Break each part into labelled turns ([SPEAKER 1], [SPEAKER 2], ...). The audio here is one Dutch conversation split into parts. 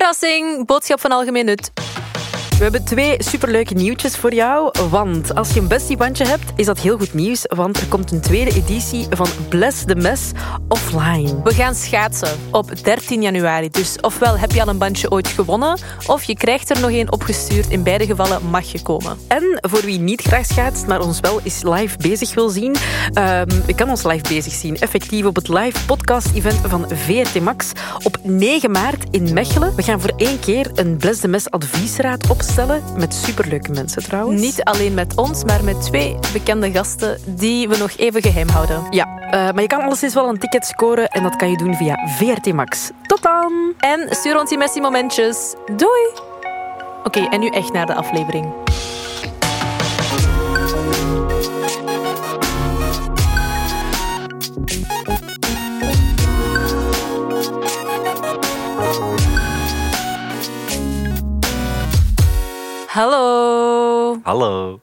[SPEAKER 1] Verrassing, boodschap van algemeen nut.
[SPEAKER 2] We hebben twee superleuke nieuwtjes voor jou. Want als je een bestiebandje hebt, is dat heel goed nieuws. Want er komt een tweede editie van Bless the Mess offline.
[SPEAKER 1] We gaan schaatsen op 13 januari. Dus ofwel heb je al een bandje ooit gewonnen, of je krijgt er nog één opgestuurd. In beide gevallen mag je komen.
[SPEAKER 2] En voor wie niet graag schaatst, maar ons wel eens live bezig wil zien, ehm, je kan ons live bezig zien. Effectief op het live podcast-event van VRT Max op 9 maart in Mechelen. We gaan voor één keer een Bless the Mess adviesraad opstellen. Met superleuke mensen trouwens.
[SPEAKER 1] Niet alleen met ons, maar met twee bekende gasten die we nog even geheim houden.
[SPEAKER 2] Ja, eh, maar je kan alleszins wel een ticket scoren en dat kan je doen via VRT Max. Tot dan!
[SPEAKER 1] En stuur ons die messi momentjes. Doei! Oké, en nu echt naar de aflevering. Hallo.
[SPEAKER 3] Hallo.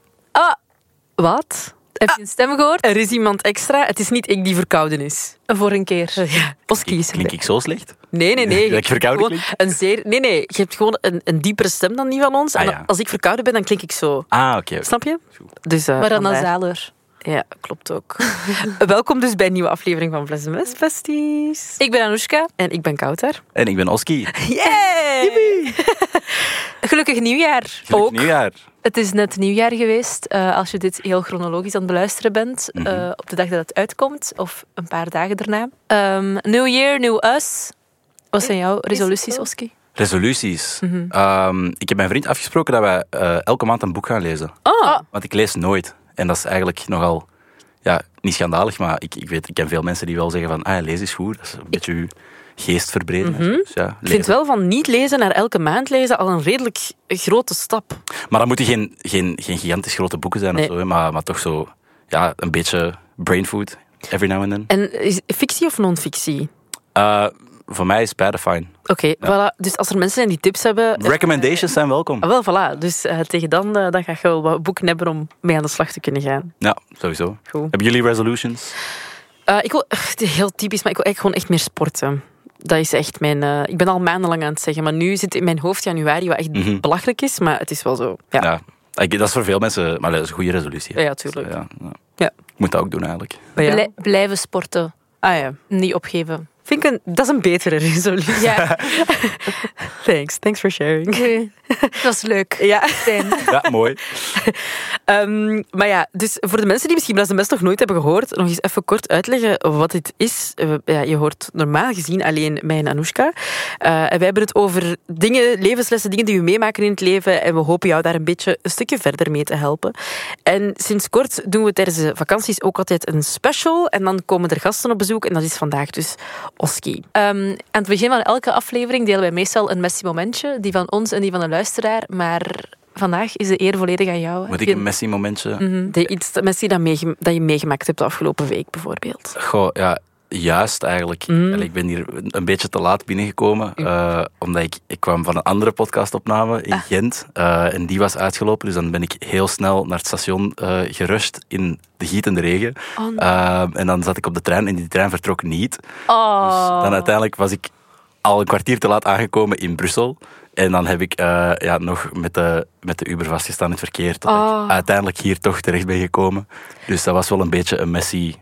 [SPEAKER 2] Wat?
[SPEAKER 1] Heb je een stem gehoord?
[SPEAKER 2] Er is iemand extra. Het is niet ik die verkouden is.
[SPEAKER 1] Voor een keer.
[SPEAKER 2] Ja, Oski is er.
[SPEAKER 3] Klink ik zo slecht?
[SPEAKER 2] Nee, nee, nee.
[SPEAKER 3] Dat
[SPEAKER 2] Je
[SPEAKER 3] ik verkouden
[SPEAKER 2] hebt gewoon een zeer, Nee, nee. Je hebt gewoon een, een diepere stem dan die van ons.
[SPEAKER 3] Ah,
[SPEAKER 2] en
[SPEAKER 3] ja.
[SPEAKER 2] als ik verkouden ben, dan klink ik zo.
[SPEAKER 3] Ah, oké. oké.
[SPEAKER 2] Snap je? Dus, eh,
[SPEAKER 1] Maar dan
[SPEAKER 2] vandaar.
[SPEAKER 1] nasaler.
[SPEAKER 2] Ja, klopt ook. Welkom dus bij een nieuwe aflevering van Fles Mes Besties.
[SPEAKER 1] Ik ben Anoushka.
[SPEAKER 2] En ik ben Kouter.
[SPEAKER 3] En ik ben Oski. Gelukkig
[SPEAKER 1] Yay! Gelukkig nieuwjaar. ook.
[SPEAKER 3] nieuwjaar.
[SPEAKER 1] Het is net nieuwjaar geweest. eh, als je dit heel chronologisch aan het beluisteren bent, eh,
[SPEAKER 3] Mhm.
[SPEAKER 1] op de dag dat het uitkomt, of een paar dagen daarna. Ehm new Year, New Us. Wat zijn jouw resoluties,
[SPEAKER 2] zo?
[SPEAKER 1] Oski?
[SPEAKER 3] Resoluties.
[SPEAKER 2] Mhm.
[SPEAKER 3] Ehm, ik heb met mijn vriend afgesproken dat wij eh, elke maand een boek gaan lezen.
[SPEAKER 2] Ah.
[SPEAKER 1] Oh,
[SPEAKER 3] Want ik lees nooit. En dat is eigenlijk nogal... Ja, niet schandalig, maar ik, ik weet... Ik ken veel mensen die wel zeggen van... Ah, lezen is goed. Dat is een beetje uw geest verbreden. Dus ja,
[SPEAKER 2] Mhm. Ik vind
[SPEAKER 3] lezen.
[SPEAKER 2] wel van niet lezen naar elke maand lezen al een redelijk grote stap.
[SPEAKER 3] Maar dat moeten geen, geen, geen gigantisch grote boeken zijn
[SPEAKER 2] Nee.
[SPEAKER 3] of zo. hè, Maar, maar toch zo... Ja, een beetje brain food. Every now and then.
[SPEAKER 2] En is fictie of non-fictie?
[SPEAKER 3] Eh, voor mij is beide fijn.
[SPEAKER 2] Oké, voilà. Dus als er mensen zijn die tips hebben...
[SPEAKER 3] Recommendations zijn welkom.
[SPEAKER 2] Ah, Wel, voilà. Dus eh, tegen dan, eh, dan ga je wel wat boeken hebben om mee aan de slag te kunnen gaan.
[SPEAKER 3] Ja, sowieso.
[SPEAKER 2] Goed.
[SPEAKER 3] Hebben jullie resolutions?
[SPEAKER 2] Eh, ik wil, ugh, het is heel typisch, maar ik wil eigenlijk gewoon echt meer sporten. Dat is echt mijn... eh, ik ben al maandenlang aan het zeggen, maar nu zit in mijn hoofd januari, wat echt
[SPEAKER 3] Mhm.
[SPEAKER 2] belachelijk is, maar het is wel zo. Ja, ja.
[SPEAKER 3] Ja. Ik- Dat is voor veel mensen, maar dat is een goede resolutie. hè. Dus, eh,
[SPEAKER 2] Ja, ja, tuurlijk.
[SPEAKER 3] Ja, ja.
[SPEAKER 2] Ja.
[SPEAKER 3] Ik moet dat ook doen eigenlijk.
[SPEAKER 2] Bij jou?
[SPEAKER 1] blij- blijven sporten.
[SPEAKER 2] Ah ja.
[SPEAKER 1] Niet opgeven.
[SPEAKER 2] Vind ik een, dat is een betere resolutie.
[SPEAKER 1] Ja,
[SPEAKER 2] Thanks. Thanks for sharing.
[SPEAKER 1] dat was leuk.
[SPEAKER 2] Ja,
[SPEAKER 1] Fijn.
[SPEAKER 3] Ja, mooi.
[SPEAKER 2] ehm, maar ja, dus voor de mensen die misschien Bless de Mest nog nooit hebben gehoord, nog eens even kort uitleggen wat dit is. Eh, ja, je hoort normaal gezien alleen mij en Anoushka. Eh, en wij hebben het over dingen, levenslessen, dingen die we meemaken in het leven. En we hopen jou daar een beetje een stukje verder mee te helpen. En sinds kort doen we tijdens de vakanties ook altijd een special. En dan komen er gasten op bezoek. En dat is vandaag dus Oski.
[SPEAKER 1] Ehm, aan het begin van elke aflevering delen wij meestal een messi momentje. Die van ons en die van de luisteraar. Maar vandaag is de eer volledig aan jou.
[SPEAKER 3] Moet ik
[SPEAKER 1] Je-
[SPEAKER 3] een messy momentje?
[SPEAKER 2] Mm. De iets dat mensen die dat, meege- dat je meegemaakt hebt de afgelopen week bijvoorbeeld.
[SPEAKER 3] Goh, ja, juist eigenlijk.
[SPEAKER 2] Mm.
[SPEAKER 3] Allee, Ik ben hier een een beetje te laat binnengekomen, eh, omdat ik, ik kwam van een andere podcastopname
[SPEAKER 2] Ah.
[SPEAKER 3] in Gent eh, en die was uitgelopen. Dus dan ben ik heel snel naar het station eh, gerust in de gietende regen.
[SPEAKER 1] Oh, nee.
[SPEAKER 3] Eh, en dan zat ik op de trein en die trein vertrok niet. Dus
[SPEAKER 1] Oh.
[SPEAKER 3] dan uiteindelijk was ik al een kwartier te laat aangekomen in Brussel. En dan heb ik eh, ja, nog met de, met de Uber vastgestaan in het verkeer. Tot
[SPEAKER 1] Oh.
[SPEAKER 3] ik uiteindelijk hier toch terecht ben gekomen. Dus dat was wel een beetje een messy,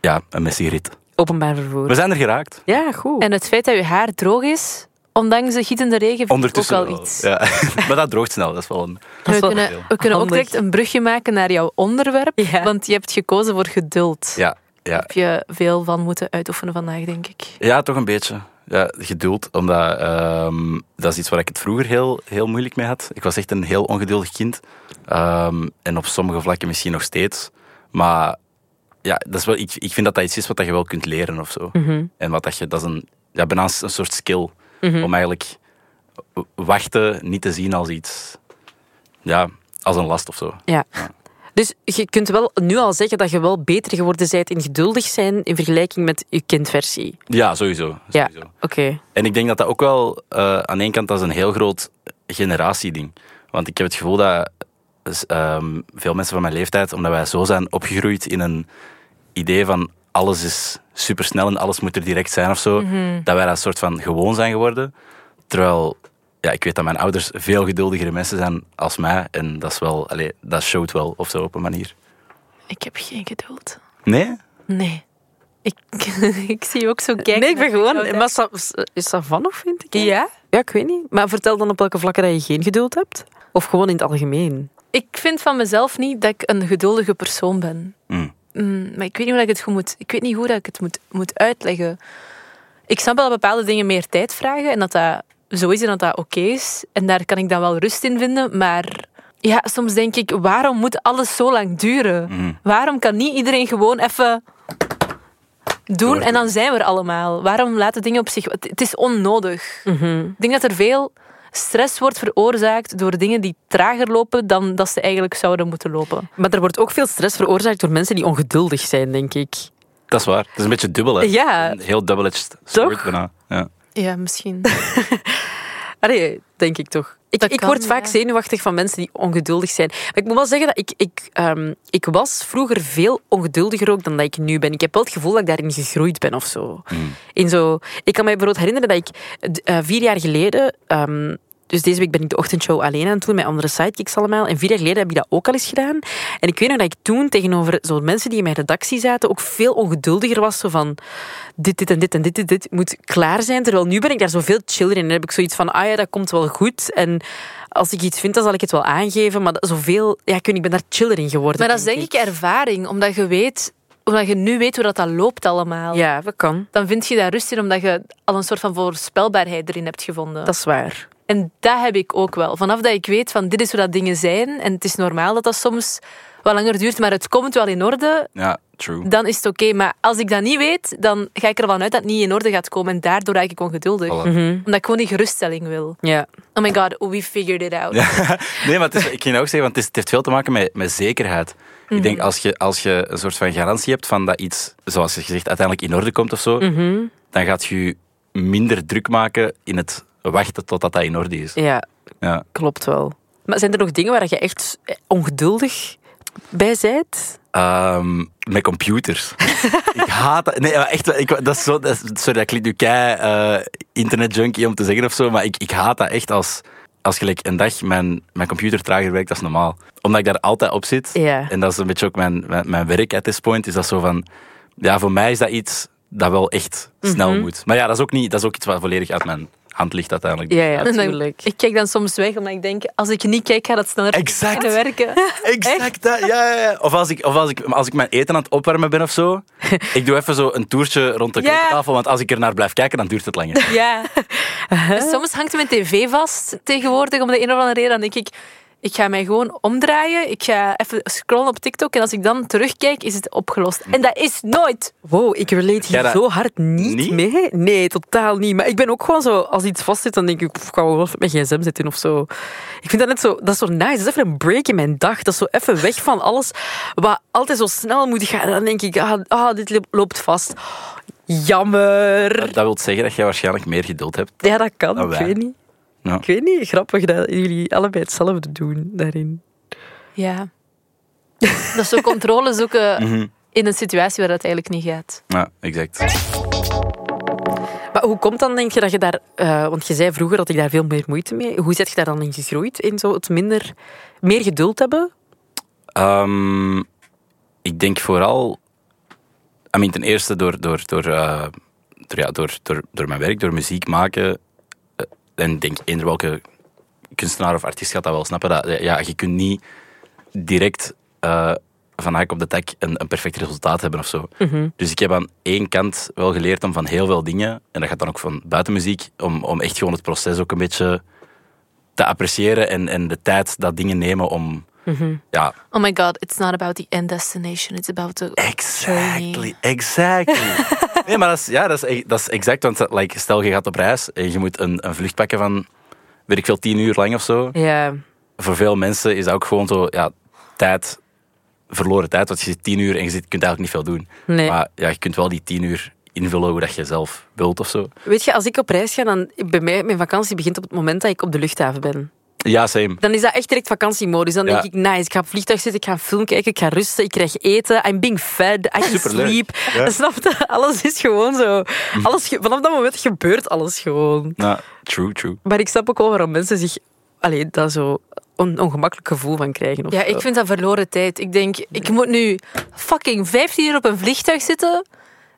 [SPEAKER 3] ja, een messy rit.
[SPEAKER 2] Openbaar
[SPEAKER 3] We
[SPEAKER 2] vervoer.
[SPEAKER 3] zijn er geraakt.
[SPEAKER 2] Ja, goed.
[SPEAKER 1] En het feit dat je haar droog is, ondanks de gietende regen, vind
[SPEAKER 3] Ondertussen
[SPEAKER 1] ik ook
[SPEAKER 3] wel.
[SPEAKER 1] al iets.
[SPEAKER 3] Ja. maar dat droogt snel. Dat is wel een...
[SPEAKER 2] Dat
[SPEAKER 1] We
[SPEAKER 2] is wel
[SPEAKER 1] kunnen,
[SPEAKER 3] heel
[SPEAKER 1] we kunnen ook
[SPEAKER 2] handig.
[SPEAKER 1] direct een brugje maken naar jouw onderwerp,
[SPEAKER 2] Ja.
[SPEAKER 1] want je hebt gekozen voor geduld.
[SPEAKER 3] Ja, ja,
[SPEAKER 1] Heb je veel van moeten uitoefenen vandaag, denk ik.
[SPEAKER 3] ja toch een beetje. Ja, geduld, omdat ehm, dat is iets waar ik het vroeger heel, heel moeilijk mee had. Ik was echt een heel ongeduldig kind. Ehm, en op sommige vlakken misschien nog steeds. Maar ja, dat is wel, ik, ik vind dat dat iets is wat dat je wel kunt leren of zo. En wat dat je, dat is een, ja, bijna een soort skill. Om eigenlijk w- wachten niet te zien als iets, ja, als een last of zo.
[SPEAKER 2] Ja. Dus je kunt wel nu al zeggen dat je wel beter geworden bent in geduldig zijn in vergelijking met je kindversie.
[SPEAKER 3] Ja, sowieso.
[SPEAKER 2] Ja,
[SPEAKER 3] sowieso.
[SPEAKER 2] oké.
[SPEAKER 3] En ik denk dat dat ook wel eh, aan de ene kant dat is een heel groot generatieding. Want ik heb het gevoel dat dus, ehm, veel mensen van mijn leeftijd, omdat wij zo zijn opgegroeid in een idee van
[SPEAKER 2] Mhm.
[SPEAKER 3] alles is supersnel en alles moet er direct zijn of zo, dat wij dat soort van gewoon zijn geworden. Terwijl, ja, ik weet dat mijn ouders veel geduldigere mensen zijn als mij. En dat is wel, allee, dat showt wel of zo op een manier.
[SPEAKER 1] Ik heb geen geduld.
[SPEAKER 3] Nee?
[SPEAKER 1] Nee. Ik, ik zie je ook zo kijken.
[SPEAKER 2] nee, ik ben gewoon...
[SPEAKER 1] Ja.
[SPEAKER 2] Maar sa- is dat van of vind ik? hè?
[SPEAKER 1] Ja?
[SPEAKER 2] Ja, ik weet niet. Maar vertel dan op welke vlakken dat je geen geduld hebt. Of gewoon in het algemeen.
[SPEAKER 1] Ik vind van mezelf niet dat ik een geduldige persoon ben.
[SPEAKER 3] Hm.
[SPEAKER 1] Mm, maar ik weet niet hoe dat ik het goed moet... Ik weet niet hoe dat ik het moet, moet uitleggen. Ik snap wel dat bepaalde dingen meer tijd vragen. En dat dat zo is en dat dat oké is. En daar kan ik dan wel rust in vinden. Maar ja, soms denk ik, waarom moet alles zo lang duren? Waarom kan niet iedereen gewoon even... Doen en dan zijn we er allemaal. Waarom laten dingen op zich... Het het is onnodig. Ik denk dat er veel stress wordt veroorzaakt door dingen die trager lopen dan dat ze eigenlijk zouden moeten lopen.
[SPEAKER 2] Maar er wordt ook veel stress veroorzaakt door mensen die ongeduldig zijn, denk ik.
[SPEAKER 3] Dat is waar. Het is een beetje dubbel, hè?
[SPEAKER 2] Ja.
[SPEAKER 3] Een heel double-edged
[SPEAKER 2] Toch?
[SPEAKER 3] sword bijna. Ja.
[SPEAKER 1] Ja, misschien.
[SPEAKER 2] Allee, denk ik toch. Ik,
[SPEAKER 1] Dat
[SPEAKER 2] ik
[SPEAKER 1] kan,
[SPEAKER 2] word vaak
[SPEAKER 1] ja.
[SPEAKER 2] zenuwachtig van mensen die ongeduldig zijn. Maar ik moet wel zeggen dat ik, ik, ehm, ik was vroeger veel ongeduldiger ook dan dat ik nu ben. Ik heb wel het gevoel dat ik daarin gegroeid ben of zo. In zo ik kan mij bijvoorbeeld herinneren dat ik eh, vier jaar geleden... ehm, dus deze week ben ik de ochtendshow alleen aan het doen met andere sidekicks allemaal. En vier jaar geleden heb ik dat ook al eens gedaan. En ik weet nog dat ik toen tegenover zo mensen die in mijn redactie zaten ook veel ongeduldiger was. Zo van, dit, dit en dit en dit, dit, dit moet klaar zijn. Terwijl nu ben ik daar zoveel chiller in. En heb ik zoiets van, ah ja, dat komt wel goed. En als ik iets vind, dan zal ik het wel aangeven. Maar dat- zoveel, ja, ik, weet niet, ik ben daar chiller in geworden.
[SPEAKER 1] Maar dat is denk ik ervaring, omdat je weet, omdat je nu weet hoe dat, dat loopt allemaal.
[SPEAKER 2] Ja, dat kan.
[SPEAKER 1] Dan vind je daar rust in, omdat je al een soort van voorspelbaarheid erin hebt gevonden.
[SPEAKER 2] Dat is waar.
[SPEAKER 1] En dat heb ik ook wel. Vanaf dat ik weet van dit is hoe dat dingen zijn en het is normaal dat dat soms wat langer duurt, maar het komt wel in orde,
[SPEAKER 3] ja, true.
[SPEAKER 1] dan is het oké. Maar als ik dat niet weet, dan ga ik ervan uit dat het niet in orde gaat komen. En daardoor raak ik ongeduldig.
[SPEAKER 3] Voilà.
[SPEAKER 1] Omdat ik gewoon die geruststelling wil.
[SPEAKER 2] Ja.
[SPEAKER 1] Oh my god, we figured it out.
[SPEAKER 3] Nee, maar het is, ik ging dat ook zeggen, want het, is- het heeft veel te maken met, met zekerheid.
[SPEAKER 2] Mhm.
[SPEAKER 3] Ik denk, als je, als je een soort van garantie hebt van dat iets, zoals je zegt, uiteindelijk in orde komt of zo,
[SPEAKER 2] Mhm.
[SPEAKER 3] dan gaat je je minder druk maken in het wachten totdat dat in orde is.
[SPEAKER 2] ja,
[SPEAKER 3] Ja.
[SPEAKER 2] klopt wel. Maar zijn er nog dingen waar je echt ongeduldig bij bent?
[SPEAKER 3] Ehm, met computers. ik haat dat. Nee, maar echt, wel, ik, dat is zo, dat is- sorry, dat klinkt nu kei eh, internetjunkie om te zeggen of zo, maar ik, ik haat dat echt als, als gelijk een dag mijn, mijn computer trager werkt dan normaal. Omdat ik daar altijd op zit.
[SPEAKER 2] Ja.
[SPEAKER 3] En dat is een beetje ook mijn, mijn, mijn werk at this point. Is dat zo van, ja, voor mij is dat iets dat wel echt snel
[SPEAKER 2] Mhm.
[SPEAKER 3] moet. Maar ja, dat is ook, niet, dat is ook iets wat volledig uit mijn hand ligt uiteindelijk.
[SPEAKER 2] Ja, ja.
[SPEAKER 1] En dan-
[SPEAKER 2] Tuurlijk.
[SPEAKER 1] ik kijk dan soms weg, omdat ik denk, als ik niet kijk, gaat dat sneller
[SPEAKER 3] Exact.
[SPEAKER 1] kunnen werken.
[SPEAKER 3] Exact, dat, ja, ja, ja. Of, als ik, of als, ik, als ik mijn eten aan het opwarmen ben of zo, ik doe even zo een toertje rond de
[SPEAKER 1] Ja.
[SPEAKER 3] keukentafel, want als ik er naar blijf kijken, dan duurt het langer.
[SPEAKER 1] Ja. En soms hangt mijn tv vast tegenwoordig, om de een of andere reden. Dan denk ik, ik ga mij gewoon omdraaien. Ik ga even scrollen op TikTok. En als ik dan terugkijk, is het opgelost. En dat is nooit.
[SPEAKER 2] Wow, ik relate
[SPEAKER 3] Jij
[SPEAKER 2] hier
[SPEAKER 3] dat
[SPEAKER 2] zo hard niet,
[SPEAKER 3] niet?
[SPEAKER 2] mee. Nee, totaal niet. Maar ik ben ook gewoon zo, als iets vast zit, dan denk ik, pff, ik ga wel even met mijn gsm zitten of zo. Ik vind dat net zo, dat is zo nice. Dat is even een break in mijn dag. Dat is zo even weg van alles wat altijd zo snel moet gaan. En dan denk ik, ah, ah, dit lo- loopt vast. Jammer.
[SPEAKER 3] Dat wil zeggen dat jij waarschijnlijk meer geduld hebt.
[SPEAKER 2] Ja, dat kan.
[SPEAKER 3] Nou,
[SPEAKER 2] ik
[SPEAKER 3] wij.
[SPEAKER 2] weet niet.
[SPEAKER 3] Ja.
[SPEAKER 2] Ik weet niet. Grappig dat jullie allebei hetzelfde doen daarin.
[SPEAKER 1] Ja. Dat is zo controle zoeken in een situatie waar dat eigenlijk niet gaat.
[SPEAKER 3] Ja, exact.
[SPEAKER 2] Maar hoe komt dan, denk je, dat je daar... eh, want je zei vroeger dat ik daar veel meer moeite mee... Hoe zet je daar dan in gegroeid? In zo het minder... Meer geduld hebben?
[SPEAKER 3] Ehm, ik denk vooral, I mean, ten eerste door, door, door, eh, door, ja, door, door, door mijn werk, door muziek maken. eh, en ik denk eender welke kunstenaar of artiest gaat dat wel snappen. Dat, ja, je kunt niet direct eh, van hak op de tak een, een perfect resultaat hebben of zo. Dus ik heb aan één kant wel geleerd om van heel veel dingen, en dat gaat dan ook van buiten muziek, om, om echt gewoon het proces ook een beetje te appreciëren en, en de tijd dat dingen nemen om ja,
[SPEAKER 1] Oh my god, it's not about the end destination. It's about the
[SPEAKER 3] Exactly, exactly. nee, maar dat is, ja, dat is, e- dat is exact. Want eh, like, stel, je gaat op reis en je moet een, een vlucht pakken van, weet ik veel, tien uur lang of zo.
[SPEAKER 2] Ja.
[SPEAKER 3] Voor veel mensen is dat ook gewoon zo, ja, tijd, verloren tijd. Want je zit tien uur en je zit, kunt eigenlijk niet veel doen.
[SPEAKER 2] Nee.
[SPEAKER 3] Maar ja, je kunt wel die tien uur invullen hoe dat je zelf wilt of zo.
[SPEAKER 2] Weet je, als ik op reis ga, dan... Bij mij, mijn vakantie begint op het moment dat ik op de luchthaven ben.
[SPEAKER 3] Ja, same.
[SPEAKER 2] Dan is dat echt direct vakantiemodus. Dan
[SPEAKER 3] Ja.
[SPEAKER 2] denk ik, nice, ik ga op het vliegtuig zitten, ik ga een film kijken, ik ga rusten, ik krijg eten, I'm being fed, I can
[SPEAKER 3] Superleuk.
[SPEAKER 2] sleep.
[SPEAKER 3] Ja.
[SPEAKER 2] Snap je? Alles is gewoon zo. Alles ge- Vanaf dat moment gebeurt alles gewoon.
[SPEAKER 3] Nou, true, true.
[SPEAKER 2] Maar ik snap ook wel waarom mensen zich allee, daar zo een ongemakkelijk gevoel van krijgen. Of
[SPEAKER 1] Ja,
[SPEAKER 2] zo.
[SPEAKER 1] ik vind dat verloren tijd. Ik denk, ik moet nu fucking 15 uur op een vliegtuig zitten.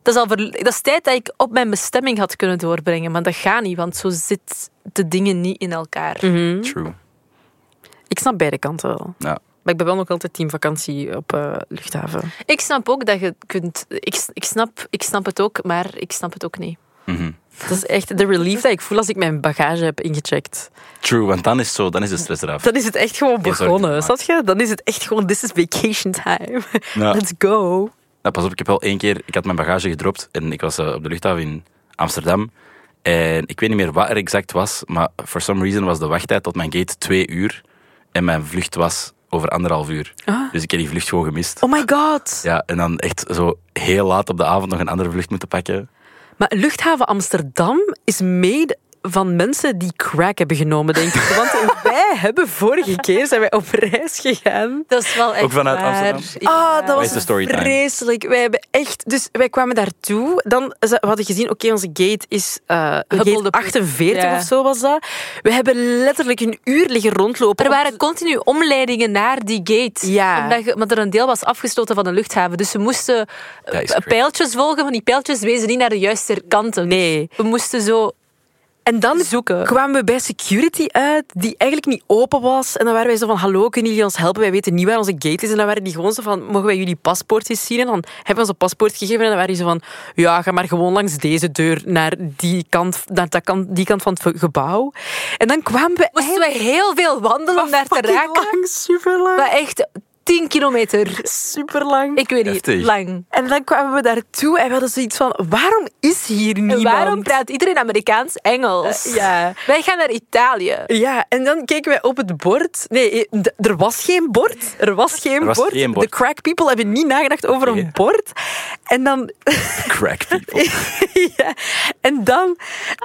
[SPEAKER 1] Dat is, al verl- dat is tijd dat ik op mijn bestemming had kunnen doorbrengen. Maar dat gaat niet, want zo zitten de dingen niet in elkaar.
[SPEAKER 3] Mm.
[SPEAKER 2] Mhm.
[SPEAKER 3] True.
[SPEAKER 2] Ik snap beide kanten wel.
[SPEAKER 3] Ja.
[SPEAKER 2] Maar ik ben wel nog altijd teamvakantie op eh, luchthaven.
[SPEAKER 1] Ik snap ook dat je kunt... Ik, ik, snap, ik snap het ook, maar ik snap het ook niet.
[SPEAKER 3] Mhm.
[SPEAKER 2] Dat is echt de relief dat ik voel als ik mijn bagage heb ingecheckt.
[SPEAKER 3] True, want dan is het zo, dan is de stress eraf.
[SPEAKER 2] Dan is het echt gewoon
[SPEAKER 3] Geen zorgen
[SPEAKER 2] begonnen, snap
[SPEAKER 3] gemaakt.
[SPEAKER 2] je? Dan is het echt gewoon, this is vacation time.
[SPEAKER 3] Ja.
[SPEAKER 2] Let's go.
[SPEAKER 3] Nou, pas op, ik heb wel één keer... Ik had mijn bagage gedropt en ik was eh, op de luchthaven in Amsterdam. En ik weet niet meer wat er exact was, maar for some reason was de wachttijd tot mijn gate twee uur. En mijn vlucht was over anderhalf uur.
[SPEAKER 2] Ah.
[SPEAKER 3] Dus ik heb die vlucht gewoon gemist.
[SPEAKER 2] Oh my god.
[SPEAKER 3] Ja, en dan echt zo heel laat op de avond nog een andere vlucht moeten pakken.
[SPEAKER 2] Maar luchthaven Amsterdam is made van mensen die crack hebben genomen, denk ik. Want wij hebben vorige keer zijn wij op reis gegaan.
[SPEAKER 1] Dat is wel echt
[SPEAKER 3] Ook vanuit
[SPEAKER 1] waar.
[SPEAKER 3] Amsterdam?
[SPEAKER 1] Ja.
[SPEAKER 2] Ah, dat
[SPEAKER 3] is de
[SPEAKER 2] was
[SPEAKER 3] storytime?
[SPEAKER 2] vreselijk. Wij hebben echt... Dus wij kwamen daartoe. Dan, ze- we hadden gezien, oké, onze gate is eh gate
[SPEAKER 1] Huppelde-
[SPEAKER 2] 48
[SPEAKER 1] Ja.
[SPEAKER 2] of zo was dat. We hebben letterlijk een uur liggen rondlopen.
[SPEAKER 1] Er
[SPEAKER 2] op
[SPEAKER 1] waren continu omleidingen naar die gate.
[SPEAKER 2] Ja.
[SPEAKER 1] Omdat je, maar er een deel was afgesloten van de luchthaven. Dus ze moesten eh,
[SPEAKER 3] Dat is crazy.
[SPEAKER 1] pijltjes volgen, maar die pijltjes wezen niet naar de juiste kanten. Dus
[SPEAKER 2] Nee.
[SPEAKER 1] We moesten zo
[SPEAKER 2] En dan
[SPEAKER 1] zoeken.
[SPEAKER 2] kwamen we bij security uit, die eigenlijk niet open was. En dan waren wij zo van, hallo, kunnen jullie ons helpen? Wij weten niet waar onze gate is. En dan waren die gewoon zo van, mogen wij jullie paspoortjes zien? En dan hebben we ons een paspoort gegeven. En dan waren die zo van, ja, ga maar gewoon langs deze deur naar die kant, naar dat kant, die kant van het gebouw. En dan kwamen we
[SPEAKER 1] Moesten we heel veel wandelen om daar te raken.
[SPEAKER 2] super lang.
[SPEAKER 1] Maar echt 10 kilometer.
[SPEAKER 2] Super lang.
[SPEAKER 1] Ik weet niet,
[SPEAKER 3] Heftig.
[SPEAKER 1] lang.
[SPEAKER 2] En dan kwamen we daartoe en we hadden zoiets van, waarom is hier niemand?
[SPEAKER 1] En waarom praat iedereen Amerikaans Engels?
[SPEAKER 2] Eh, ja.
[SPEAKER 1] Wij gaan naar Italië.
[SPEAKER 2] Ja, en dan keken wij op het bord. Nee, eh, d- er was geen bord. Er was geen,
[SPEAKER 3] Er was
[SPEAKER 2] bord.
[SPEAKER 3] geen bord.
[SPEAKER 2] De crack people hebben niet nagedacht over
[SPEAKER 3] Oké.
[SPEAKER 2] een bord. En dan,
[SPEAKER 3] Crack people.
[SPEAKER 2] ja, en dan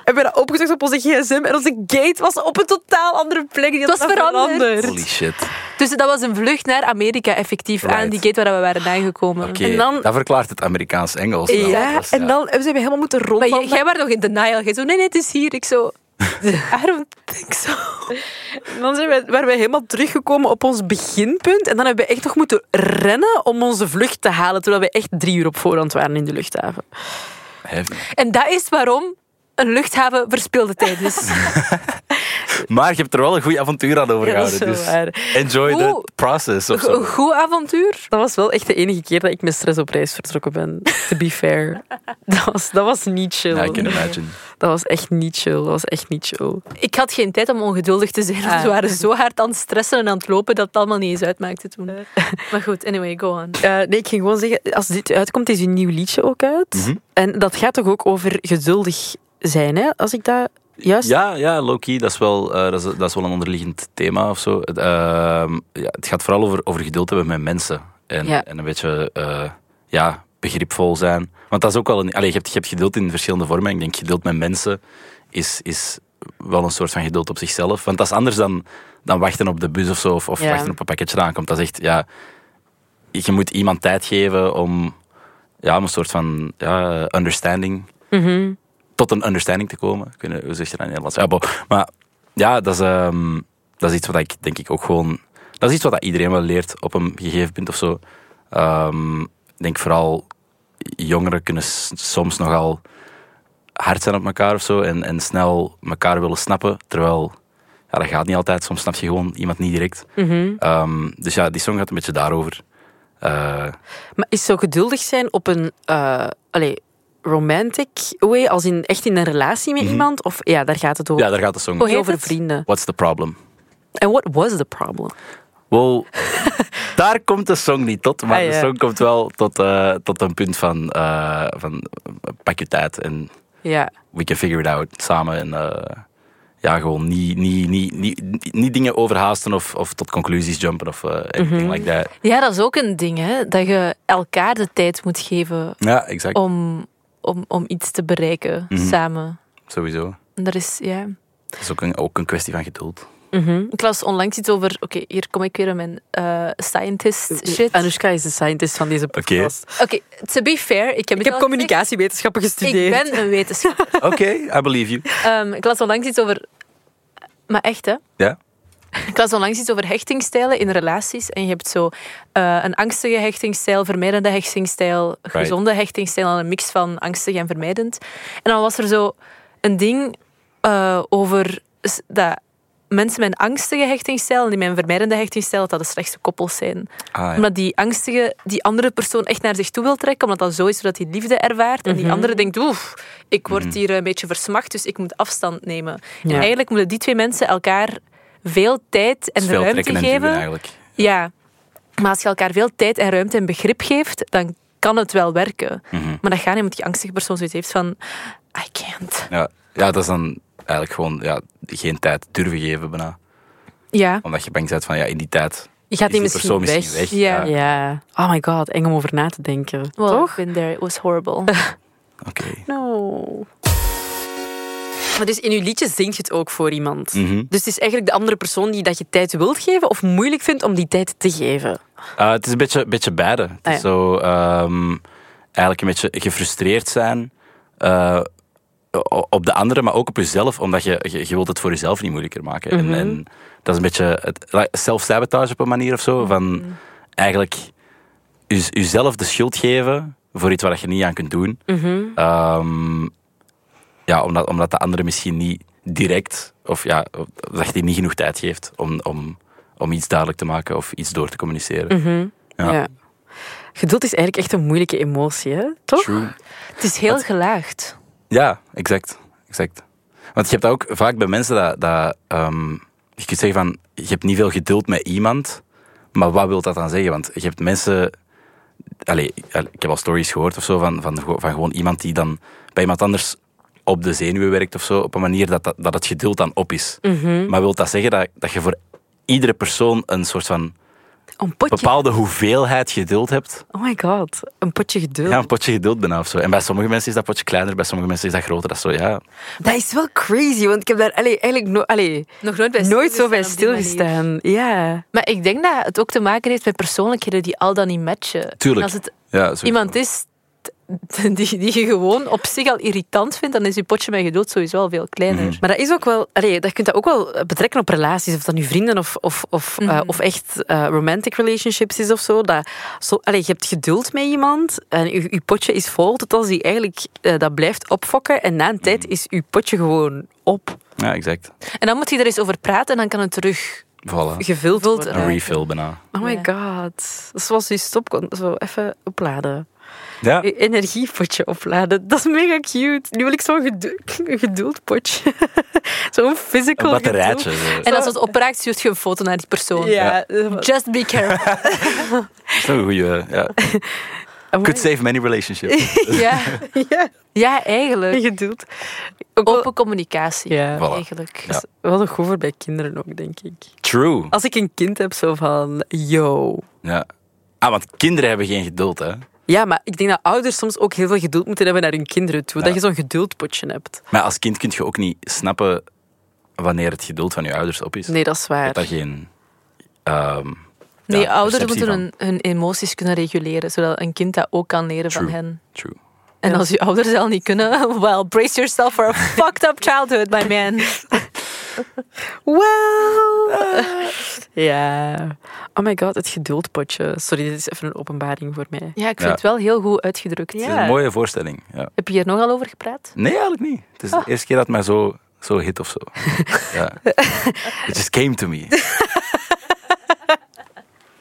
[SPEAKER 2] hebben we dat opgezocht op onze gsm. En onze gate was op een totaal andere plek. Die
[SPEAKER 1] Het
[SPEAKER 2] had
[SPEAKER 1] was
[SPEAKER 2] dat
[SPEAKER 1] veranderd.
[SPEAKER 3] Holy shit.
[SPEAKER 1] Dus dat was een vlucht naar Amerika, effectief, aan
[SPEAKER 3] Right.
[SPEAKER 1] die gate waar we waren aangekomen.
[SPEAKER 3] Oké,
[SPEAKER 2] En dan-
[SPEAKER 3] dat verklaart het Amerikaans-Engels. wel.
[SPEAKER 2] Ja,
[SPEAKER 3] Dat is-
[SPEAKER 2] en dan hebben ze helemaal moeten
[SPEAKER 1] Maar
[SPEAKER 2] rondwandelen.
[SPEAKER 1] jij, jij was nog in denial. Jij zo, nee, nee, het is hier. Ik zo, I don't think so.
[SPEAKER 2] En dan zijn wij, waren we helemaal teruggekomen op ons beginpunt. En dan hebben we echt nog moeten rennen om onze vlucht te halen. Terwijl we echt drie uur op voorhand waren in de luchthaven.
[SPEAKER 3] Heavy.
[SPEAKER 1] En dat is waarom een luchthaven verspilde tijd is.
[SPEAKER 3] Maar je hebt er wel een goed avontuur aan
[SPEAKER 2] Ja, dat is
[SPEAKER 3] overgehouden.
[SPEAKER 2] zo
[SPEAKER 3] dus
[SPEAKER 2] waar.
[SPEAKER 3] enjoy
[SPEAKER 1] Oeh.
[SPEAKER 3] the process of
[SPEAKER 1] Een
[SPEAKER 3] zo.
[SPEAKER 1] goed avontuur.
[SPEAKER 2] Dat was wel echt de enige keer dat ik met stress op reis vertrokken ben. To be fair. Dat was, dat was niet chill.
[SPEAKER 3] Ja, I can imagine.
[SPEAKER 2] dat was echt niet chill. Dat was echt niet chill.
[SPEAKER 1] Ik had geen tijd om ongeduldig te zijn. want We
[SPEAKER 2] Ah.
[SPEAKER 1] waren zo hard aan het stressen en aan het lopen dat het allemaal niet eens uitmaakte toen. Eh, Maar goed, anyway, go on.
[SPEAKER 2] Eh, nee, ik ging gewoon zeggen, als dit uitkomt, is een nieuw liedje ook uit.
[SPEAKER 3] Mhm.
[SPEAKER 2] En dat gaat toch ook over geduldig zijn, hè? Als ik dat juist...
[SPEAKER 3] Ja, ja low-key, dat, is wel, eh, dat, is, dat is wel een onderliggend thema of zo. Het, ehm, ja, het gaat vooral over, over geduld hebben met mensen. En,
[SPEAKER 2] Ja.
[SPEAKER 3] en een beetje eh, ja, begripvol zijn. Want dat is ook wel een. Allee, je, hebt, je hebt geduld in verschillende vormen. Ik denk geduld met mensen is, is wel een soort van geduld op zichzelf. Want dat is anders dan, dan wachten op de bus of zo. Of, of
[SPEAKER 2] Ja.
[SPEAKER 3] wachten op een pakketje dat aankomt. Dat is echt, ja. Je moet iemand tijd geven om, ja, om een soort van ja, understanding
[SPEAKER 2] Mhm.
[SPEAKER 3] tot een understanding te komen. Ik weet niet, hoe zeg je dat in het Nederlands? Ja, bo. Maar ja, dat is, ehm, dat is iets wat ik denk ik ook gewoon... Dat is iets wat dat iedereen wel leert op een gegeven punt of zo. Ehm, ik denk vooral jongeren kunnen s- soms nogal hard zijn op elkaar of zo. En, en snel elkaar willen snappen. Terwijl, ja, dat gaat niet altijd. Soms snap je gewoon iemand niet direct.
[SPEAKER 2] mhm.
[SPEAKER 3] Ehm, dus ja, die song gaat een beetje daarover. Eh,
[SPEAKER 2] Maar is zo geduldig zijn op een... eh allee, romantic way, als in echt in een relatie met
[SPEAKER 3] Mhm.
[SPEAKER 2] iemand? Of ja, daar gaat het over.
[SPEAKER 3] ja, daar gaat de song.
[SPEAKER 1] Hoe
[SPEAKER 2] Niet
[SPEAKER 1] heet
[SPEAKER 2] over
[SPEAKER 1] het?
[SPEAKER 2] vrienden.
[SPEAKER 3] What's the problem?
[SPEAKER 2] En what was the problem?
[SPEAKER 3] Wow, daar komt de song niet tot, maar
[SPEAKER 2] Ah, ja.
[SPEAKER 3] de song komt wel tot, eh, tot een punt van, eh, van eh, pak je tijd en
[SPEAKER 2] Ja.
[SPEAKER 3] we can figure it out samen. En eh, ja, gewoon niet niet niet niet niet dingen overhaasten of, of tot conclusies jumpen of eh, anything like that.
[SPEAKER 1] Ja, dat is ook een ding, hè. Dat je elkaar de tijd moet geven
[SPEAKER 3] Ja, exact.
[SPEAKER 1] om, om, om iets te bereiken
[SPEAKER 3] Mhm.
[SPEAKER 1] samen.
[SPEAKER 3] Sowieso.
[SPEAKER 1] En dat is, ja...
[SPEAKER 3] Dat is ook een, ook een kwestie van geduld.
[SPEAKER 2] Mhm.
[SPEAKER 1] Ik las onlangs iets over, oké, hier kom ik weer aan mijn eh, scientist shit. Oké,
[SPEAKER 2] Anushka is de scientist van deze podcast.
[SPEAKER 1] to be fair, ik heb,
[SPEAKER 2] Ik
[SPEAKER 1] het al
[SPEAKER 2] heb
[SPEAKER 1] gezegd,
[SPEAKER 2] communicatiewetenschappen gestudeerd.
[SPEAKER 1] Ik ben een wetenschapper.
[SPEAKER 3] Oké, I believe you.
[SPEAKER 1] Ehm, ik las onlangs iets over... Maar echt, hè?
[SPEAKER 3] Ja.
[SPEAKER 1] Ik las onlangs iets over hechtingstijlen in relaties. En je hebt zo eh, een angstige hechtingstijl, vermijdende hechtingstijl, gezonde hechtingstijl en een mix van angstig en vermijdend. En dan was er zo een ding eh, over s- dat mensen met een angstige hechtingstijl en die met een vermijdende hechtingstijl, dat dat de slechtste koppels zijn.
[SPEAKER 3] Ah, ja.
[SPEAKER 1] Omdat die angstige, die andere persoon echt naar zich toe wil trekken, omdat dat zo is zodat hij liefde ervaart. En die andere denkt, oef, ik word
[SPEAKER 3] Mhm.
[SPEAKER 1] hier een beetje versmacht, dus ik moet afstand nemen.
[SPEAKER 2] Ja.
[SPEAKER 1] En eigenlijk moeten die twee mensen elkaar veel tijd en
[SPEAKER 3] Het is Dus veel
[SPEAKER 1] ruimte
[SPEAKER 3] trekken en duwen
[SPEAKER 1] geven.
[SPEAKER 3] eigenlijk.
[SPEAKER 1] Ja. Maar als je elkaar veel tijd en ruimte en begrip geeft, dan kan het wel werken.
[SPEAKER 3] Mhm.
[SPEAKER 1] Maar dat gaat niet omdat die angstige persoon zoiets heeft van, I can't.
[SPEAKER 3] Ja, ja, dat is dan eigenlijk gewoon ja, geen tijd durven geven bijna.
[SPEAKER 1] Ja.
[SPEAKER 3] Omdat je bang bent van, ja, in die tijd
[SPEAKER 2] Je gaat
[SPEAKER 3] is die
[SPEAKER 2] niet
[SPEAKER 3] persoon
[SPEAKER 2] misschien weg.
[SPEAKER 3] misschien weg.
[SPEAKER 1] Ja.
[SPEAKER 3] Ja,
[SPEAKER 2] Ja. Oh my god, eng om over na te denken.
[SPEAKER 1] Well, I've
[SPEAKER 2] Toch?
[SPEAKER 1] been there. It was horrible.
[SPEAKER 3] Oké.
[SPEAKER 2] No. Maar dus in je liedje zingt je het ook voor iemand.
[SPEAKER 3] Mhm.
[SPEAKER 2] Dus het is eigenlijk de andere persoon die dat je tijd wilt geven of moeilijk vindt om die tijd te geven.
[SPEAKER 3] Eh, het is een beetje, beetje beide. Het
[SPEAKER 2] Ah,
[SPEAKER 3] is
[SPEAKER 2] ja.
[SPEAKER 3] zo ehm, eigenlijk een beetje gefrustreerd zijn eh, o- op de anderen, maar ook op jezelf, omdat je, je, je wilt het voor jezelf niet moeilijker maken. En-
[SPEAKER 2] Mhm.
[SPEAKER 3] en, dat is een beetje het- like, self-sabotage op een manier of zo. Van eigenlijk je- jezelf de schuld geven voor iets waar je niet aan kunt doen. Ehm, ja, omdat, omdat de andere misschien niet direct, of ja, dat je die niet genoeg tijd geeft om, om, om iets duidelijk te maken of iets door te communiceren. Ja.
[SPEAKER 2] Geduld is eigenlijk echt een moeilijke emotie, hè? toch?
[SPEAKER 3] True.
[SPEAKER 1] het is heel gelaagd.
[SPEAKER 3] Ja, exact. exact. Want je hebt dat ook vaak bij mensen dat, dat ehm, je kunt zeggen van, je hebt niet veel geduld met iemand, maar wat wil dat dan zeggen? Want je hebt mensen, allee, allee, ik heb al stories gehoord of zo van, van, gewo- van gewoon iemand die dan bij iemand anders op de zenuwen werkt of zo, op een manier dat, dat, dat het geduld dan op is. Maar wil dat zeggen dat, dat je voor iedere persoon een soort van
[SPEAKER 2] Een potje.
[SPEAKER 3] bepaalde hoeveelheid geduld hebt?
[SPEAKER 2] Oh my god, een potje geduld.
[SPEAKER 3] Ja, een potje geduld bijna of zo. En bij sommige mensen is dat potje kleiner, bij sommige mensen is dat groter. Dat is zo, ja,
[SPEAKER 2] Dat is wel crazy, want ik heb daar allee, eigenlijk no- allee,
[SPEAKER 1] Nog nooit bij
[SPEAKER 2] nooit zo bij
[SPEAKER 1] stilgestaan op die manier.
[SPEAKER 2] stilgestaan. Ja.
[SPEAKER 1] Maar ik denk dat het ook te maken heeft met persoonlijkheden die al dan niet matchen.
[SPEAKER 3] Tuurlijk.
[SPEAKER 1] En als het
[SPEAKER 3] Ja, sowieso.
[SPEAKER 1] iemand is t- die, die je gewoon op zich al irritant vindt, dan is je potje met geduld sowieso al veel kleiner.
[SPEAKER 3] Mhm.
[SPEAKER 2] Maar dat is ook wel, allee, dat je kunt dat ook wel eh, betrekken op relaties, of dat nu vrienden of, of, of, eh,
[SPEAKER 1] Mhm.
[SPEAKER 2] of echt eh, romantic relationships is of zo. Dat, zo allee, je hebt geduld met iemand en je, je potje is vol, tot als die eigenlijk eh, dat blijft opfokken. En na een tijd
[SPEAKER 3] Mhm.
[SPEAKER 2] is je potje gewoon op
[SPEAKER 3] Ja, exact.
[SPEAKER 1] En dan moet je er eens over praten en dan kan het terug.
[SPEAKER 3] Voilà.
[SPEAKER 2] gevuld
[SPEAKER 1] Gevuld,
[SPEAKER 2] worden.
[SPEAKER 1] ja.
[SPEAKER 3] Een refill bijna.
[SPEAKER 2] Oh my
[SPEAKER 1] Ja.
[SPEAKER 2] god. Dat is Zoals je stop zo even opladen.
[SPEAKER 3] Ja,
[SPEAKER 2] Je energiepotje opladen. Dat is mega cute. Nu wil ik zo'n gedu een geduldpotje. zo'n
[SPEAKER 3] een
[SPEAKER 2] physical
[SPEAKER 3] batterijtje. zo.
[SPEAKER 1] En als het opraakt, stuurt je een foto naar die persoon.
[SPEAKER 2] geduld. Ja. eh,
[SPEAKER 1] Just be careful.
[SPEAKER 3] Zo'n goeie. Ja.
[SPEAKER 2] amai.
[SPEAKER 3] Could save many relationships.
[SPEAKER 1] ja.
[SPEAKER 2] Ja,
[SPEAKER 1] ja, eigenlijk.
[SPEAKER 2] geduld. Ook wel,
[SPEAKER 1] Open communicatie.
[SPEAKER 2] ja.
[SPEAKER 3] Voilà.
[SPEAKER 1] Eigenlijk.
[SPEAKER 3] Ja.
[SPEAKER 2] wel nog goed voor bij kinderen ook, denk ik.
[SPEAKER 3] True.
[SPEAKER 2] Als ik een kind heb, zo van, yo.
[SPEAKER 3] Ja. Ah, want kinderen hebben geen geduld, hè.
[SPEAKER 2] Ja, maar ik denk dat ouders soms ook heel veel geduld moeten hebben naar hun kinderen toe. Dat
[SPEAKER 3] Ja.
[SPEAKER 2] je zo'n geduldpotje hebt.
[SPEAKER 3] Maar als kind kun je ook niet snappen wanneer het geduld van je ouders op is.
[SPEAKER 2] Nee, dat is
[SPEAKER 3] Je
[SPEAKER 2] waar.
[SPEAKER 3] hebt daar geen... ehm
[SPEAKER 1] Nee,
[SPEAKER 3] ja,
[SPEAKER 1] ouders
[SPEAKER 3] perceptie
[SPEAKER 1] moeten
[SPEAKER 3] van.
[SPEAKER 1] hun, hun emoties kunnen reguleren, zodat een kind dat ook kan leren
[SPEAKER 3] True.
[SPEAKER 1] van hen.
[SPEAKER 3] True.
[SPEAKER 1] En
[SPEAKER 2] Ja.
[SPEAKER 1] als je ouders al niet kunnen, well, brace yourself for a fucked up childhood, my man.
[SPEAKER 2] Wow! Ja. Oh my god, het geduldpotje. Sorry, dit is even een openbaring voor mij.
[SPEAKER 1] Ja, ik vind
[SPEAKER 3] Ja.
[SPEAKER 1] het wel heel goed uitgedrukt.
[SPEAKER 3] Het is een mooie voorstelling. Ja.
[SPEAKER 1] Heb je hier nogal over gepraat?
[SPEAKER 3] Nee, eigenlijk niet. Het is de eerste keer dat het mij zo, zo hit of zo. ja. It just came to me. maar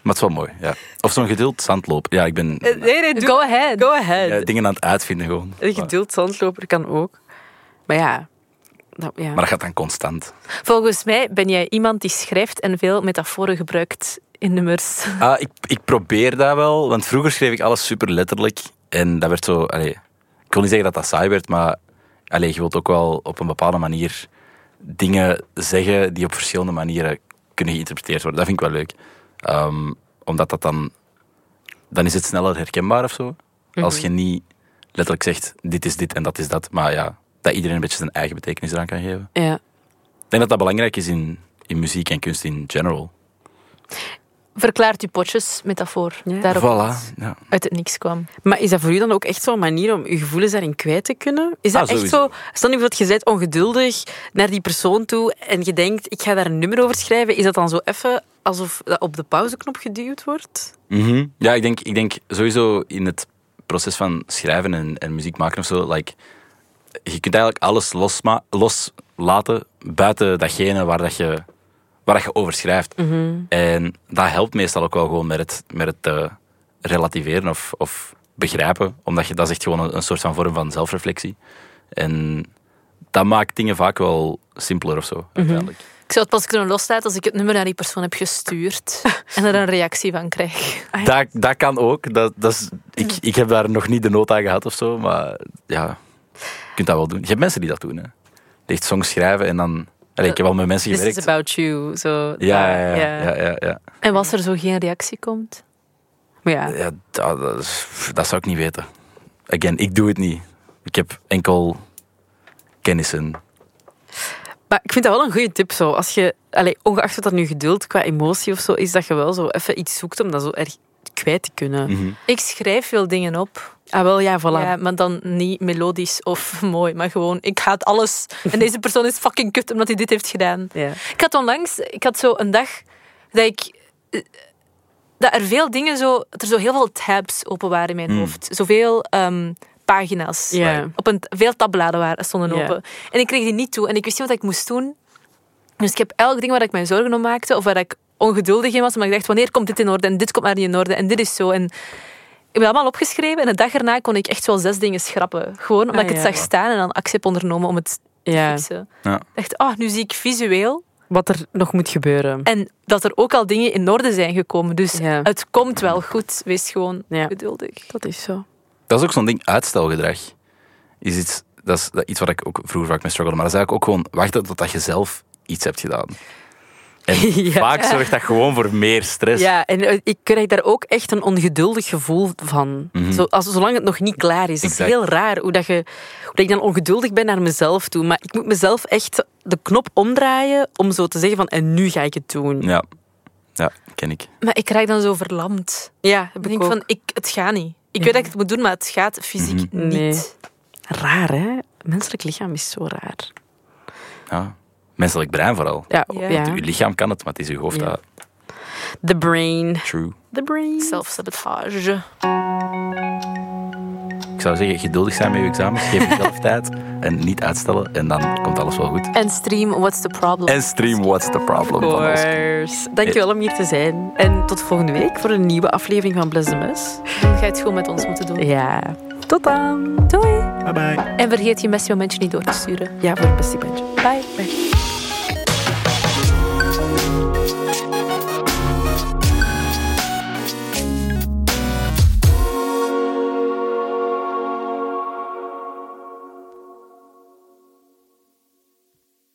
[SPEAKER 3] het is wel mooi, ja. Of zo'n geduld zandloop. Ja, ik ben
[SPEAKER 2] Nee, nee,
[SPEAKER 1] Go ahead.
[SPEAKER 2] Go ahead.
[SPEAKER 3] ja, dingen aan het uitvinden gewoon.
[SPEAKER 2] Een geduld zandloper kan ook. Maar ja. Dat, ja.
[SPEAKER 3] Maar dat gaat dan constant.
[SPEAKER 1] Volgens mij ben jij iemand die schrijft en veel metaforen gebruikt in nummers.
[SPEAKER 3] Ah, ik, ik probeer dat wel, want vroeger schreef ik alles super letterlijk. En dat werd zo... Allee, ik wil niet zeggen dat dat saai werd, maar allee, je wilt ook wel op een bepaalde manier dingen zeggen die op verschillende manieren kunnen geïnterpreteerd worden. Dat vind ik wel leuk. Ehm, omdat dat dan... Dan is het sneller herkenbaar of zo. Als je niet letterlijk zegt, dit is dit en dat is dat. Maar ja, dat iedereen een beetje zijn eigen betekenis eraan kan geven.
[SPEAKER 2] Ja.
[SPEAKER 3] Ik denk dat dat belangrijk is in, in muziek en kunst in general.
[SPEAKER 1] Verklaart je potjesmetafoor
[SPEAKER 2] Ja.
[SPEAKER 1] daarop
[SPEAKER 3] Voilà. Ja.
[SPEAKER 1] uit het niks kwam.
[SPEAKER 2] Maar is dat voor u dan ook echt zo'n manier om je gevoelens daarin kwijt te kunnen? Is dat
[SPEAKER 3] Ah,
[SPEAKER 2] echt
[SPEAKER 3] sowieso.
[SPEAKER 2] zo? Stel nu dat je bent ongeduldig naar die persoon toe en je denkt, ik ga daar een nummer over schrijven. Is dat dan zo even alsof dat op de pauzeknop geduwd wordt?
[SPEAKER 3] Mhm. Ja, ik denk, ik denk sowieso in het proces van schrijven en, en muziek maken of zo, like, je kunt eigenlijk alles losma- loslaten buiten datgene waar, dat je, waar dat je over schrijft. En dat helpt meestal ook wel gewoon met het, met het eh, relativeren of, of begrijpen, omdat je, dat is echt gewoon een, een soort van vorm van zelfreflectie. En dat maakt dingen vaak wel simpeler of zo, uiteindelijk.
[SPEAKER 1] Ik zou het pas kunnen loslaten als ik het nummer naar die persoon heb gestuurd en er een reactie van krijg.
[SPEAKER 3] Dat, dat kan ook. Dat, dat is, ik, ik heb daar nog niet de nood aan gehad of zo, maar ja, je kunt dat wel doen. Je hebt mensen die dat doen. Hè. Die echt songs schrijven en dan. Allee, ik heb al met mensen
[SPEAKER 2] This Dus is
[SPEAKER 3] gewerkt.
[SPEAKER 2] about you. Zo,
[SPEAKER 3] Ja,
[SPEAKER 2] dat-
[SPEAKER 3] ja, ja. ja, ja, ja.
[SPEAKER 1] En was er zo geen reactie komt?
[SPEAKER 2] Maar ja,
[SPEAKER 3] Ja, dat, dat, is- dat zou ik niet weten. Again, ik doe het niet. Ik heb enkel kennissen.
[SPEAKER 2] Maar ik vind dat wel een goede tip. Zo. Als je, allee, ongeacht wat dat nu geduld qua emotie of zo is, dat je wel zo even iets zoekt om dat zo erg kwijt te kunnen.
[SPEAKER 3] Mhm.
[SPEAKER 1] Ik schrijf veel dingen op,
[SPEAKER 2] Ah, wel, ja, voilà.
[SPEAKER 1] ja, maar dan niet melodisch of mooi, maar gewoon ik haat alles. En deze persoon is fucking kut omdat hij dit heeft gedaan.
[SPEAKER 2] Ja.
[SPEAKER 1] Ik had onlangs, ik had zo een dag dat ik. eh, Dat er veel dingen zo. Dat er zo heel veel tabs open waren in mijn
[SPEAKER 3] Hmm.
[SPEAKER 1] hoofd. Zoveel ehm, pagina's.
[SPEAKER 2] Ja.
[SPEAKER 1] Op een, veel tabbladen waren, stonden
[SPEAKER 2] Ja.
[SPEAKER 1] open. En ik kreeg die niet toe. En ik wist niet wat ik moest doen. Dus ik heb elk ding waar ik mij zorgen om maakte. Of waar ik ongeduldig in was. Maar ik dacht, wanneer komt dit in orde? En dit komt maar niet in orde. En dit is zo. En ik heb dat allemaal opgeschreven. En de dag erna kon ik echt wel zes dingen schrappen. Gewoon omdat ik
[SPEAKER 2] Ah,
[SPEAKER 1] het
[SPEAKER 2] ja.
[SPEAKER 1] zag staan. En dan actie heb ondernomen om het te
[SPEAKER 2] Ja.
[SPEAKER 1] fixen.
[SPEAKER 3] Ja.
[SPEAKER 1] Ik dacht, ah, nu zie ik visueel
[SPEAKER 2] Wat er nog moet gebeuren.
[SPEAKER 1] en dat er ook al dingen in orde zijn gekomen. Dus
[SPEAKER 2] Ja.
[SPEAKER 1] het komt wel goed. Wees gewoon
[SPEAKER 2] Ja.
[SPEAKER 1] geduldig.
[SPEAKER 2] Dat is zo.
[SPEAKER 3] Dat is ook zo'n ding, uitstelgedrag. Is iets, dat is dat- iets waar ik ook vroeger vaak mee struggelde. Maar dat is eigenlijk ook gewoon wachten totdat je zelf iets hebt gedaan. En
[SPEAKER 2] Ja.
[SPEAKER 3] vaak zorgt dat gewoon voor meer stress.
[SPEAKER 2] Ja, en eh, ik krijg daar ook echt een ongeduldig gevoel van.
[SPEAKER 3] Mhm.
[SPEAKER 2] zo, als, zolang het nog niet klaar is. Het is
[SPEAKER 3] Exact.
[SPEAKER 2] heel raar hoe, dat je, hoe dat ik dan ongeduldig ben naar mezelf toe. Maar ik moet mezelf echt de knop omdraaien om zo te zeggen van en nu ga ik het doen.
[SPEAKER 3] Ja, ja ken ik.
[SPEAKER 1] Maar ik raak dan zo verlamd.
[SPEAKER 2] Ja, heb
[SPEAKER 1] Ik
[SPEAKER 2] ik
[SPEAKER 1] denk
[SPEAKER 2] ook.
[SPEAKER 1] van, ik, het gaat niet. Ik weet dat ik het moet doen, maar het gaat fysiek
[SPEAKER 2] Mhm. Nee.
[SPEAKER 1] niet.
[SPEAKER 2] Raar, hè? Menselijk lichaam is zo raar.
[SPEAKER 3] Ja. Menselijk brein vooral.
[SPEAKER 2] Ja,
[SPEAKER 1] Ja.
[SPEAKER 2] ja.
[SPEAKER 3] Uw lichaam kan het, maar het is uw hoofd
[SPEAKER 2] Ja.
[SPEAKER 3] dat
[SPEAKER 2] The brain.
[SPEAKER 3] true.
[SPEAKER 2] The brain.
[SPEAKER 1] Zelfsabotage.
[SPEAKER 3] Ik zou zeggen, geduldig zijn met je examens. Geef jezelf tijd en niet uitstellen. En dan komt alles wel goed.
[SPEAKER 1] En stream, what's the problem?
[SPEAKER 3] En stream What's the Problem
[SPEAKER 2] Of
[SPEAKER 3] van ons.
[SPEAKER 2] course. Dankjewel om hier te zijn. En tot volgende week voor een nieuwe aflevering van Bless the Mess.
[SPEAKER 1] Dan ga je het gewoon met ons moeten doen.
[SPEAKER 2] Ja, tot dan.
[SPEAKER 1] Doei.
[SPEAKER 3] Bye bye.
[SPEAKER 1] En vergeet je mesmomentje niet door te sturen.
[SPEAKER 2] Ja, voor het beste bandje.
[SPEAKER 1] Bye.